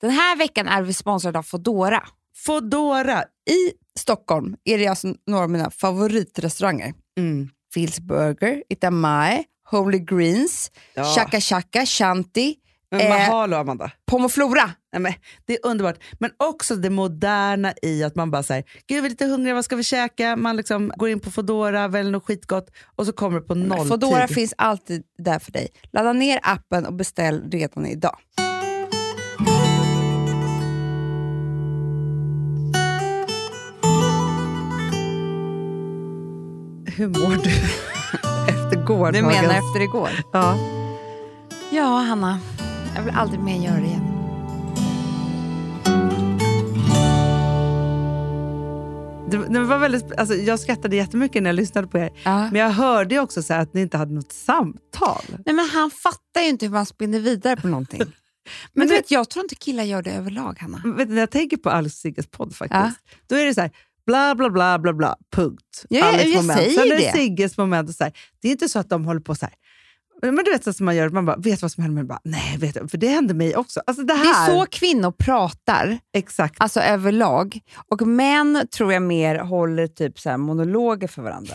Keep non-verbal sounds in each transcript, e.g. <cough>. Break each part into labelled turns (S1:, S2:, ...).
S1: Den här veckan är vi sponsrade av Fodora.
S2: Fodora i Stockholm är det alltså några av mina favoritrestauranger.
S1: Mm.
S2: Phil's Burger, Itamae, Holy Greens,
S1: Ja.
S2: Chaka Chaka, Shanti,
S1: Men
S2: Eh.
S1: eh. hallå Amanda.
S2: Pomoflora.
S1: Nej, men,
S2: Det är underbart.
S1: men också det moderna i att man bara säger, gud vi är lite hungriga, vad ska vi käka? Man liksom går in på Foodora, väljer något skitgott och så kommer det på nolltid.
S2: Foodora finns alltid där för dig. Ladda ner appen och beställ redan idag.
S1: Hur
S2: <laughs>
S1: mår du efter
S2: Du
S1: gårdagens...
S2: menar efter igår?
S1: Ja.
S2: Ja, Hanna. Jag vill aldrig mer göra det igen.
S1: Det, det var väldigt, alltså, jag skrattade jättemycket när jag lyssnade på er.
S2: Ja.
S1: Men jag hörde ju också så här att ni inte hade något samtal.
S2: Nej, men han fattar ju inte hur man spinner vidare på
S1: <laughs>
S2: någonting. Men, du
S1: du-
S2: vet, jag tror inte killar gör det överlag, Hanna.
S1: Vet du, när jag tänker på Alex och Sigges podd faktiskt,
S2: Ja.
S1: då är det så här, bla bla bla bla bla, punkt.
S2: Ja, ja, jag
S1: moment.
S2: säger
S1: Sen är
S2: det.
S1: Sigges moment. Och så här. Det är inte så att de håller på så här. Men du vet så som man gör, man bara, vet vad som händer? Men bara, nej, vet jag, för det hände mig också. Alltså det
S2: Det är
S1: här.
S2: så kvinnor pratar,
S1: Exakt.
S2: alltså överlag. Och män tror jag mer håller typ så här monologer för varandra.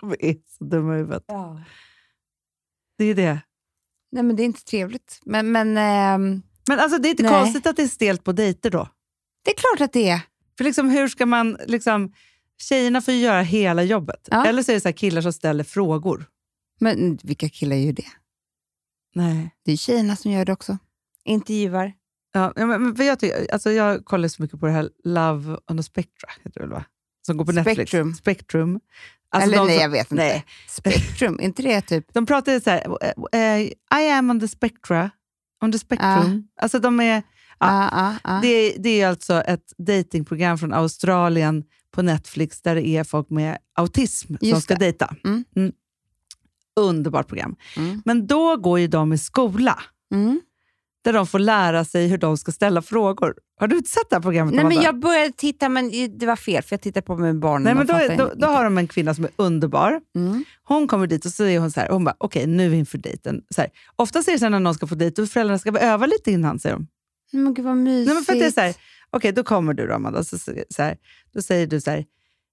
S1: De är så dumma i huvudet. Det är det.
S2: Nej, men det är inte trevligt. Men, men ehm,
S1: Men alltså det är inte
S2: Nej.
S1: konstigt att det är stelt på dejter då.
S2: det är klart att det är.
S1: För liksom, hur ska man... Liksom, tjejerna får ju göra hela jobbet.
S2: Ja.
S1: Eller så är det så här killar som ställer frågor.
S2: Men vilka killar gör det?
S1: Nej.
S2: Det är tjejerna som gör det också. Intervjuar.
S1: Ja, ja, men, men för jag, tycker, alltså, jag kollar så mycket på det här Love on a Spectra, heter det väl, va? Som går på
S2: Spectrum.
S1: Netflix. Spectrum. Alltså,
S2: Eller
S1: de,
S2: nej,
S1: som-
S2: jag vet inte.
S1: nej.
S2: Spektrum, inte det typ...
S1: de pratar ju så här, eh, eh, I am on the spectra. On the spectrum. Alltså de är... <laughs> Ja.
S2: Ah, ah, ah.
S1: Det, det är alltså ett datingprogram från Australien på Netflix där det är folk med autism som
S2: Just
S1: ska
S2: det.
S1: dejta.
S2: Mm.
S1: Underbart program.
S2: Mm.
S1: Men då går ju de i skola
S2: Mm.
S1: där de får lära sig hur de ska ställa frågor. Har du inte sett det här programmet?
S2: Nej, men
S1: Amanda?
S2: jag började titta, men i- det var fel, för jag tittade på med barnen.
S1: Nej,
S2: Mm, man
S1: men då,
S2: fattar
S1: är- då,
S2: ingenting.
S1: då har de en kvinna som är underbar.
S2: Mm.
S1: Hon kommer dit och så är hon så här, hon bara, okej nu inför dejten. Så här, oftast är det så här när någon ska få dejt, då föräldrarna ska bara öva lite innan, säger de.
S2: Nej, Men gud vad mysigt.
S1: Nej, men för att det är så här, okej, då kommer du då, Amanda, så, så, så här, då säger du så här,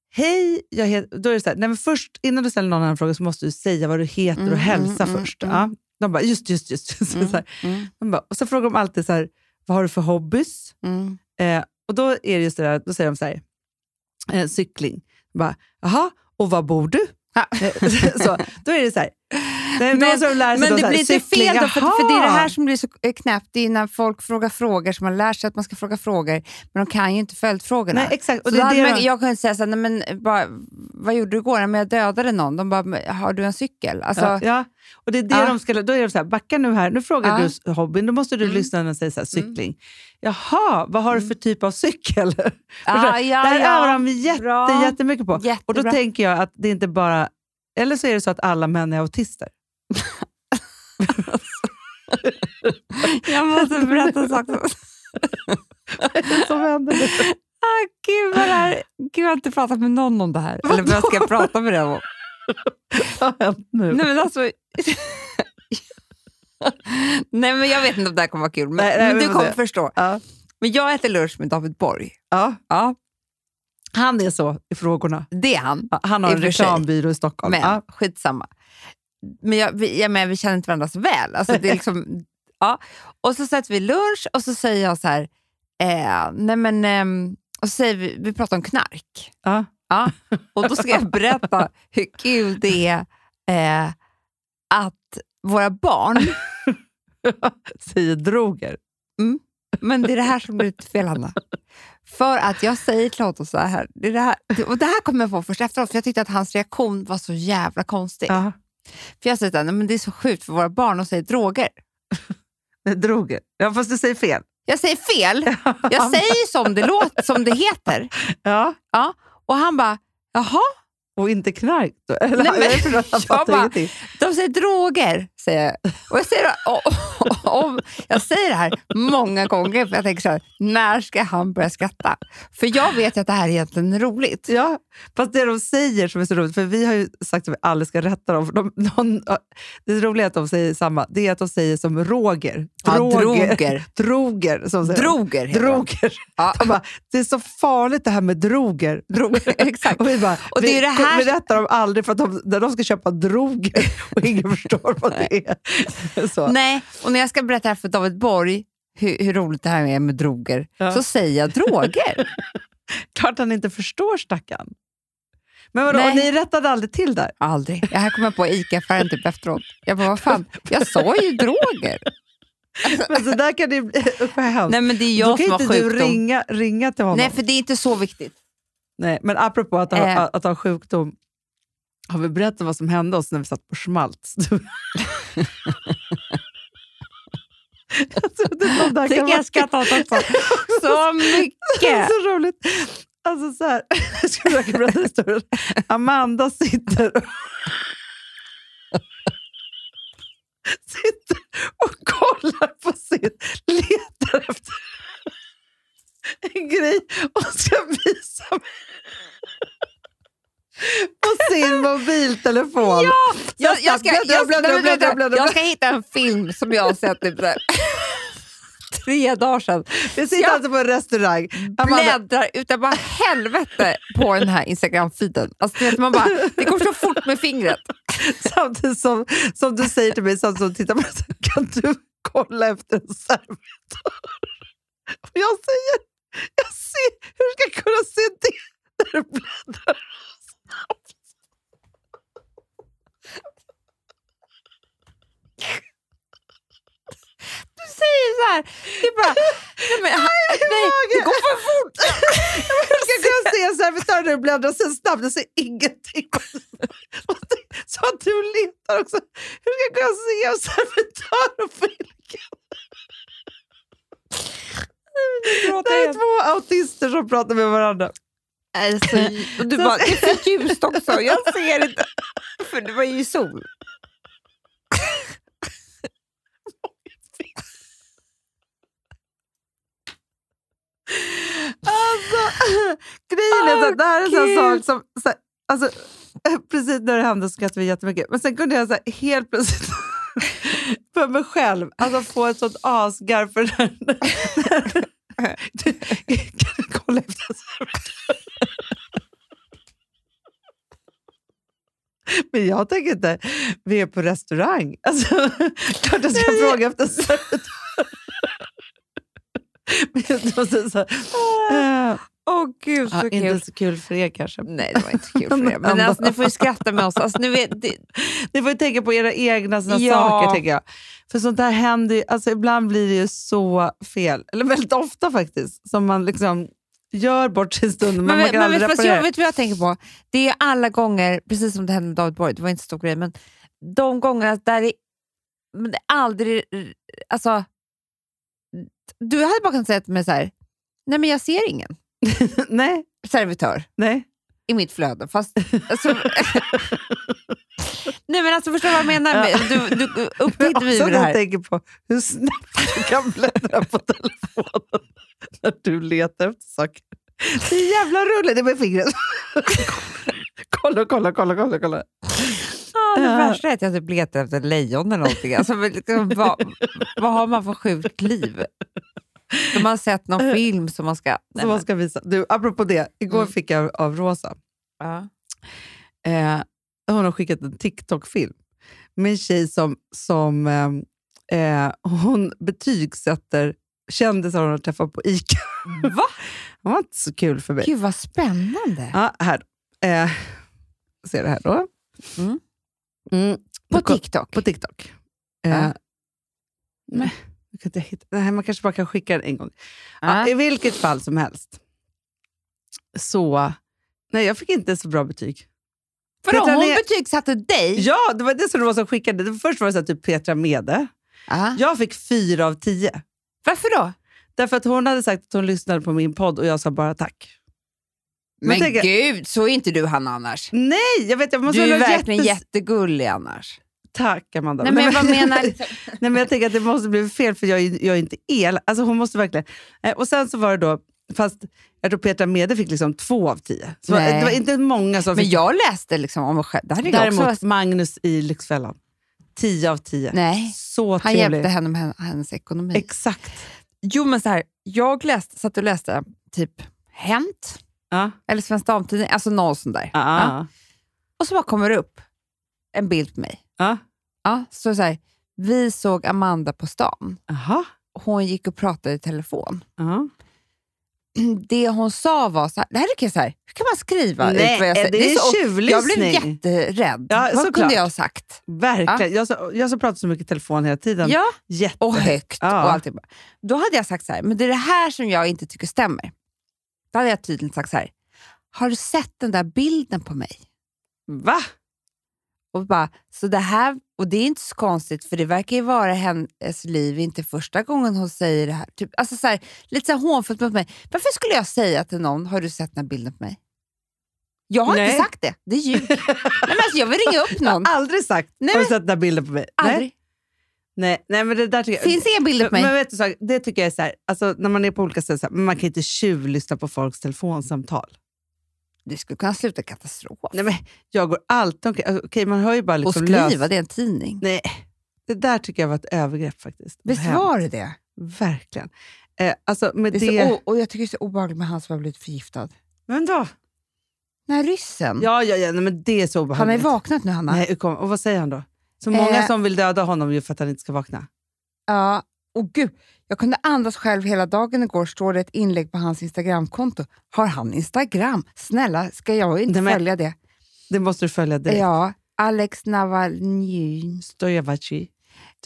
S1: hej, jag heter... Då är det så här, nej, men först, innan du ställer någon annan fråga så måste du säga vad du heter
S2: Mm,
S1: och hälsa
S2: mm,
S1: först.
S2: mm,
S1: Ja. De bara, just, just, just. <laughs> Så,
S2: Mm,
S1: så här.
S2: mm,
S1: De bara, och så frågar de alltid så här, vad har du för hobbys?
S2: mm.
S1: Eh, och då är det just det där, då säger de så här, eh, cykling. De bara, jaha, och var bor du?
S2: Ja.
S1: <laughs> Eh, så, då är det så här, nej,
S2: Men-
S1: någon som lär
S2: Men
S1: sig då
S2: det
S1: så här,
S2: blir inte
S1: cykling,
S2: fel då, för, för det är det
S1: jaha.
S2: här som blir så eh, knäppt. Det är när folk frågar frågor, så man lär sig att man ska fråga frågor, men de kan ju inte följdfrågorna.
S1: Nej, exakt. Och
S2: Så då
S1: det är
S2: hade
S1: det
S2: man,
S1: de-
S2: jag kunde säga så här, nej, men, eh, bara, vad gjorde du igår? Nej, Men jag dödade någon. De bara, men, har du en cykel? Alltså,
S1: Ja, ja. Och det är det
S2: Ja.
S1: de ska, då är de så här, backa nu här, nu frågar
S2: Ja.
S1: du s- hobbyn, då måste du
S2: Mm.
S1: lyssna när de säger så här, cykling. Jaha, vad har du för typ av cykel? <laughs>
S2: Ah,
S1: Förstår du?
S2: ja,
S1: det här
S2: ja.
S1: övar de jätte,
S2: Bra.
S1: jättemycket på. Och då
S2: Jättebra.
S1: tänker jag att det inte bara, eller så är det så att alla män
S2: <laughs>
S1: är autister.
S2: Jag måste berätta en sak.
S1: Som händer nu.
S2: Ah, <laughs> gud, vad det här, gud, jag har inte pratat med någon om det här. Eller vad ska jag prata med dig om?
S1: Vad har hänt nu?
S2: Nej men alltså... <laughs> nej men jag vet inte om det här kommer vara kul, men,
S1: Nej, nej,
S2: men
S1: vi
S2: du
S1: får
S2: kommer
S1: se.
S2: förstå.
S1: Ja.
S2: Men jag äter lunch med David Borg.
S1: Ja.
S2: Ja,
S1: Han är så i frågorna.
S2: det är han.
S1: Ja, Han har
S2: I
S1: en
S2: och för sig.
S1: reklambyrå i Stockholm.
S2: Men
S1: Ja.
S2: skitsamma. Men, jag, vi, jag men vi känner inte varandra så väl. Alltså, det är
S1: <laughs>
S2: liksom, ja. Och så sätter vi lunch och så säger jag så här, eh, nej men, ehm, och så säger vi, vi pratar om knark.
S1: Ja.
S2: Ja. Och då ska jag
S1: <laughs>
S2: berätta hur kul det är eh, att våra barn
S1: Säger droger.
S2: Men det är det här som blir lite fel, Hanna. För att jag säger till honom så här, det, är det här, och det här kommer jag på först efteråt, för jag tyckte att hans reaktion var så jävla konstig.
S1: Ja.
S2: För jag säger så här, "Nej, men det är så sjukt för våra barn att säga droger.
S1: Nej, Droger. Ja, fast du säger fel.
S2: Jag säger fel, jag säger som det låter, som det heter.
S1: Ja.
S2: Ja. Och han bara, jaha,
S1: Och inte knark då? <laughs> Eller,
S2: Nej, men-
S1: jag förstår, han
S2: jag
S1: fattar
S2: bara-
S1: ingenting.
S2: de säger droger. säger jag. Och jag säger, det- och, och, och, jag säger det här många gånger, för jag tänker så här, när ska han börja skratta? För jag vet ju att det här är egentligen roligt.
S1: Ja, fast det de säger som är så roligt, för vi har ju sagt att vi aldrig ska rätta dem. För de, någon, det roliga är att de säger samma, det är att de säger som Roger.
S2: Ja,
S1: Droger.
S2: droger.
S1: Droger. Som säger.
S2: Droger heter det.
S1: Droger.
S2: Ja.
S1: De bara, det är så farligt det här med droger.
S2: <laughs>
S1: droger.
S2: Exakt.
S1: Och vi bara,
S2: Och det är
S1: vi,
S2: det här-
S1: vi rättar dem aldrig för att de, när de ska köpa <laughs> droger och ingen förstår vad det är. Så.
S2: Nej, och när jag ska berätta här för David Borg, hur, hur roligt det här är med droger,
S1: Ja.
S2: så säger jag <laughs> droger.
S1: Klart han inte förstår stackarn. Men vadå,
S2: Nej.
S1: och ni rättade aldrig till där?
S2: Aldrig. Jag här kommer jag på i ICA-affären typ efteråt. Jag bara, vad fan, jag sa ju droger.
S1: Men så Alltså, där kan det ju bli... <laughs> Usch, vad hemskt.
S2: Nej, men det är jag
S1: Då
S2: som
S1: kan
S2: har
S1: inte du
S2: sjukdom.
S1: ringa, ringa till honom.
S2: Nej, för det är inte så viktigt.
S1: Nej, men apropå att ha,
S2: Eh.
S1: att ha sjukdom, har vi berättat vad som hände oss när vi satt på Schmaltz? <laughs> alltså, det är sånt där kan
S2: tycker
S1: vara-
S2: jag skrattar åt också. <laughs> Så
S1: Det är
S2: <laughs> mycket!
S1: så roligt. Alltså så här, <laughs> jag ska försöka berätta historien. Amanda sitter och, <laughs> sitter och kollar på sin, letar efter en grej och ska visa mig på sin mobiltelefon.
S2: Ja, jag, jag, ska,
S1: Bläddra,
S2: jag,
S1: bläddra,
S2: nej, men
S1: bläddra,
S2: vänta,
S1: bläddra,
S2: jag ska hitta en film som jag har sett typ så <laughs> här, tre dagar sedan.
S1: Vi sitter
S2: Jag-
S1: alltså på en restaurang. Amanda,
S2: Bläddrar utan bara helvete på den här Instagram-feeden. Alltså, du vet, man bara, det går så fort med fingret.
S1: <laughs> samtidigt som, som du säger till mig, samtidigt som du tittar på mig, så kan du kolla efter en servitör? Och jag säger, jag ser, hur ska jag kunna se det när du bläddrar?
S2: Du säger så här, det är bara, nej, men, nej, det går för fort.
S1: <laughs> Hur ska jag kunna se en servitör när du bläddrar så snabbt? Jag ser ingenting. <laughs> Och det- Så att du letar också. Hur ska jag kunna se en servitör och vilken? Det här är två autister som pratar med varandra.
S2: Alltså, och du bara, det är för ljust också, jag ser inte. För det var ju sol.
S1: Alltså, <laughs> grejen är så att det här är en sån
S2: Åh,
S1: sak
S2: Gud.
S1: som... Så, här, alltså, <laughs> precis när det hände så skrattade vi jättemycket. Men sen kunde jag så här, helt plötsligt <laughs> för mig själv alltså, få ett sånt asgarv för den. Du, kan du <laughs> kolla efter en servitör? Men jag tänker inte, vi är på restaurang. Alltså, <laughs> klart jag ska fråga efter <laughs> en servitör. Men jag måste så här, eh,
S2: Åh gud, så
S1: Ja,
S2: kul.
S1: inte så kul för er kanske.
S2: Nej, det var inte så kul för er. Men alltså, ni får ju skratta med oss. Alltså, nu är det,
S1: Ni får ju tänka på era egna såna
S2: Ja.
S1: saker, tänker jag. För sånt där händer ju, alltså ibland blir det ju så fel, eller väldigt ofta faktiskt, som man liksom gör bort sin stund, men,
S2: men
S1: man kan
S2: men,
S1: aldrig
S2: men fast
S1: reparera.
S2: jag vet vad jag tänker på. Det är alla gånger, precis som det hände med David Borg, det var inte så stor grej, men de gångerna där det, men det aldrig... Alltså, du hade bara kunnat säga till mig så här, nej men jag ser ingen
S1: Nej,
S2: servitör.
S1: nej.
S2: i mitt flöde. Fast, alltså,
S1: <laughs>
S2: <laughs> nej men alltså förstår du vad jag menar? Med, du, du
S1: Men
S2: upptäckte vi
S1: också
S2: med det
S1: när jag
S2: här.
S1: tänker på hur snabbt du kan bläddra på telefonen <laughs> när du letar efter saker. Det är jävla roligt, det är med fingret. <laughs> Kolla, kolla, kolla, kolla, kolla.
S2: Ja, det värsta är att jag typ letar efter lejon eller någonting. Alltså, men liksom, vad, vad har man för sjukt liv? De har sett någon film Eh, som man ska... Nej,
S1: Så man
S2: men,
S1: ska visa. Du, apropå det, igår
S2: Mm.
S1: fick jag av Rosa
S2: ja.
S1: Eh, hon har skickat en TikTok-film med en tjej som, som eh, eh, hon betygsätter kändisar hon har träffat på ICA. <laughs>
S2: Va?
S1: Det var inte så kul för mig.
S2: Gud vad spännande.
S1: Ja, här. Eh, ser det här då.
S2: Mm.
S1: Mm, då
S2: På
S1: kom-
S2: TikTok.
S1: På TikTok. Eh,
S2: Ja.
S1: Nej, nu kan inte jag hitta. Nej, man kanske bara kan skicka den en gång. Ja,
S2: Ja.
S1: I vilket fall som helst. Så, nej jag fick inte så bra betyg.
S2: För om
S1: Petra,
S2: hon
S1: det-
S2: betygsatte dig...
S1: Ja, det var det som det var som skickade. Det- Först var det så att typ Petra Mede.
S2: Ja.
S1: Jag fick fyra av tio.
S2: Varför då?
S1: Därför att hon hade sagt att hon lyssnade på min podd och jag sa bara tack. Men
S2: Men
S1: tänk-
S2: gud, så är inte du Hanna annars.
S1: Nej, jag vet, jag måste
S2: Du är
S1: väl ha
S2: verkligen
S1: jättes-
S2: jättegullig annars.
S1: Tack, Amanda.
S2: Nej, men jag bara menar...
S1: <laughs>
S2: <laughs>
S1: Nej, men jag tänker att det måste bli fel, för jag, är- jag är inte el. Alltså, hon måste verkligen... Eh, och sen så var det då, fast jag tror Petra Mede fick liksom två av tio. Så
S2: Nej.
S1: det var inte många som
S2: Men
S1: fick.
S2: jag läste liksom om mig själv. Det hade jag också
S1: Däremot
S2: läst.
S1: Magnus i Lyxfällan, tio av tio.
S2: Nej,
S1: Så
S2: han
S1: trevlig.
S2: hjälpte henne med hen- hennes ekonomi.
S1: Exakt.
S2: jo, men så här, jag läste, satt och läste typ Hänt
S1: Ja.
S2: eller Svensk Damtidning, alltså någon sån där.
S1: Ja.
S2: Och så bara kommer det upp en bild på mig.
S1: Ja.
S2: Ja, så så här, vi såg Amanda på stan.
S1: Aha.
S2: Hon gick och pratade i telefon. <clears throat>
S1: Ja.
S2: Det hon sa var så här, det här är så här, hur kan man skriva ut vad jag säger?
S1: det är
S2: så- Jag blev
S1: tjuvlyssning.
S2: jätterädd.
S1: Ja,
S2: vad
S1: såklart.
S2: kunde jag ha sagt?
S1: Verkligen. Jag, så, jag så pratar så mycket telefon hela tiden.
S2: Ja,
S1: Jätte.
S2: och högt
S1: Ja.
S2: och allting. Då hade jag sagt så här, men det är det här som jag inte tycker stämmer. Då hade jag tydligen sagt så här, har du sett den där bilden på mig?
S1: Va?
S2: Och bara, så det här, och det är inte så konstigt för det verkar ju vara hennes liv inte första gången hon säger det här. Typ, alltså så här lite så här hånfullt mot mig. Varför skulle jag säga till någon, har du sett den här bilden på mig? Jag har
S1: Nej.
S2: inte sagt det, det är
S1: <laughs>
S2: ljug. Nej, men alltså, jag vill ringa upp någon.
S1: Aldrig sagt.
S2: Nej,
S1: Har
S2: men-
S1: du sett den där bilden på mig? Nej.
S2: Aldrig.
S1: Nej, nej men det där tycker jag...
S2: Finns inga bilder på mig.
S1: Men vet du, så här, det tycker jag är så här, alltså, när man är på olika ställen, så här, men man kan inte tjuvlyssna på folks telefonsamtal.
S2: Det skulle kunna sluta katastrof.
S1: Nej, men jag går alltid omkring, alltså, okej man hör ju bara
S2: och
S1: liksom
S2: skriva
S1: lös-
S2: det i en tidning.
S1: Nej, det där tycker jag var ett övergrepp faktiskt.
S2: Visst
S1: Hem-
S2: var det det?
S1: Verkligen. Eh, alltså med
S2: det,
S1: det...
S2: är så o- och jag tycker det är så obehagligt med han som har blivit förgiftad.
S1: Men då?
S2: Den här ryssen.
S1: Ja, ja, ja nej, men det är så
S2: Mm. han har ju
S1: obehagligt.
S2: vaknat nu, Hanna.
S1: Nej, kom, och vad säger han då? Så många
S2: Eh.
S1: som vill döda honom ju för att han inte ska vakna.
S2: Ja, och gud. Jag kunde andas själv hela dagen igår, står det ett inlägg på hans Instagramkonto. Har han Instagram? Snälla, ska jag inte
S1: Nej, men-
S2: följa det?
S1: Det måste du följa direkt.
S2: Ja, Alex Navalny.
S1: Stojavaci.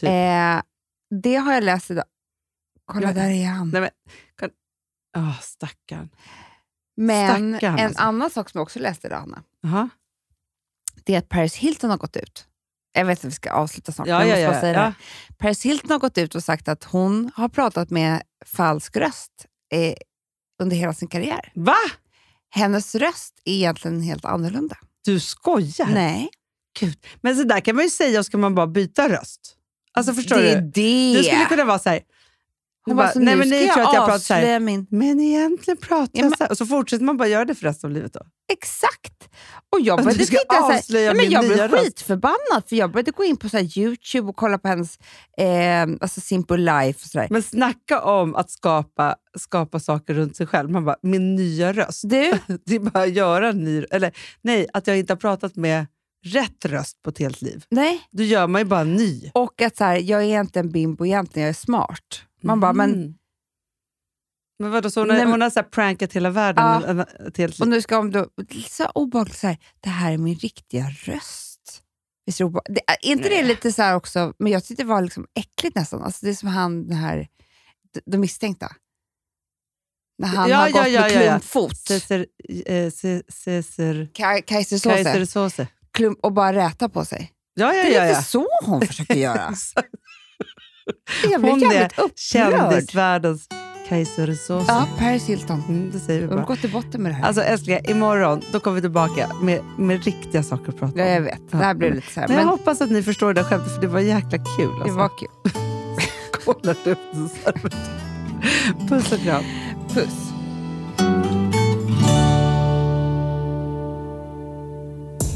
S1: Typ.
S2: Eh, det har jag läst idag. Kolla,
S1: Ja.
S2: där är han.
S1: Nej, men, kan... oh, stackarn.
S2: Men
S1: stackarn,
S2: en
S1: alltså.
S2: annan sak som jag också läste idag, Hanna,
S1: Jaha.
S2: det är att Paris Hilton har gått ut. Jag vet att vi ska avsluta snart,
S1: Ja,
S2: men
S1: ja,
S2: jag måste bara
S1: ja,
S2: säga det.
S1: ja.
S2: här. Paris Hilton har gått ut och sagt att hon har pratat med falsk röst eh, under hela sin karriär.
S1: Va?
S2: hennes röst är egentligen helt annorlunda.
S1: Du skojar?
S2: Nej,
S1: Gud. Men så där kan man ju säga och ska man bara byta röst. Alltså förstår
S2: det är
S1: du?
S2: det.
S1: Det skulle kunna vara så här.
S2: Hon
S1: bara,
S2: bara, så
S1: nej,
S2: nu
S1: men
S2: ska
S1: ni
S2: jag,
S1: tror att jag pratar så här."
S2: avslöja min...
S1: Men egentligen pratar
S2: Ja,
S1: jag
S2: men-
S1: så här. Och så fortsätter man bara göra det för resten av livet då.
S2: Exakt! Och jag började
S1: Att Alltså, du ska
S2: titta så här,
S1: avslöja
S2: nej, men
S1: min
S2: jag
S1: nya
S2: blev
S1: röst.
S2: skitförbannad för jag började gå in på så här Youtube och kolla på hennes eh, alltså Simple Life och sådär.
S1: Men snacka om att skapa, skapa saker runt sig själv. Man bara, min nya röst. <laughs>
S2: Du,
S1: Det är bara att göra en ny... Eller nej, att jag inte har pratat med rätt röst på ett helt liv.
S2: nej.
S1: Då gör man ju bara en ny.
S2: Och att så här, jag är inte en bimbo egentligen, jag är smart. Man bara, men,
S1: Mm. Men vadå, så hon, har-
S2: Nej, men-
S1: hon har så här prankat hela världen?
S2: Ja.
S1: en- en- ett helt
S2: och
S1: liv.
S2: nu ska hon då... Så obehagligt så här, det här är min riktiga röst. Visst är det obehagligt? Det- Är inte det lite så här också, men jag tyckte det var liksom äckligt nästan. Alltså det är som han, den här, d- de misstänkta. När han
S1: Ja,
S2: har
S1: ja,
S2: gått
S1: ja,
S2: med
S1: ja, ja.
S2: klumpfot.
S1: Caesar... Eh, Ce- Caesar...
S2: Kaj- Kajsersåse.
S1: Kaisersåse.
S2: Klump och bara räta på sig.
S1: Ja, ja,
S2: Det
S1: ja.
S2: är lite
S1: ja.
S2: så hon
S1: <laughs>
S2: försöker göra.
S1: Exakt.
S2: Jag blev
S1: Hon
S2: jävligt upprörd.
S1: Kändisvärldens Kaisersåse.
S2: Ja, Paris Hilton.
S1: Mm, det säger vi
S2: Hon
S1: bara.
S2: går till botten med det här.
S1: Alltså älsklingar, imorgon då kommer vi tillbaka med, med riktiga saker att prata
S2: ja,
S1: om.
S2: jag vet. Det här blev lite så här,
S1: Men jag
S2: men
S1: hoppas att ni förstår det där skämtet för det var jäkla kul. Alltså.
S2: det var kul.
S1: Kolla du. Puss och kram.
S2: Puss.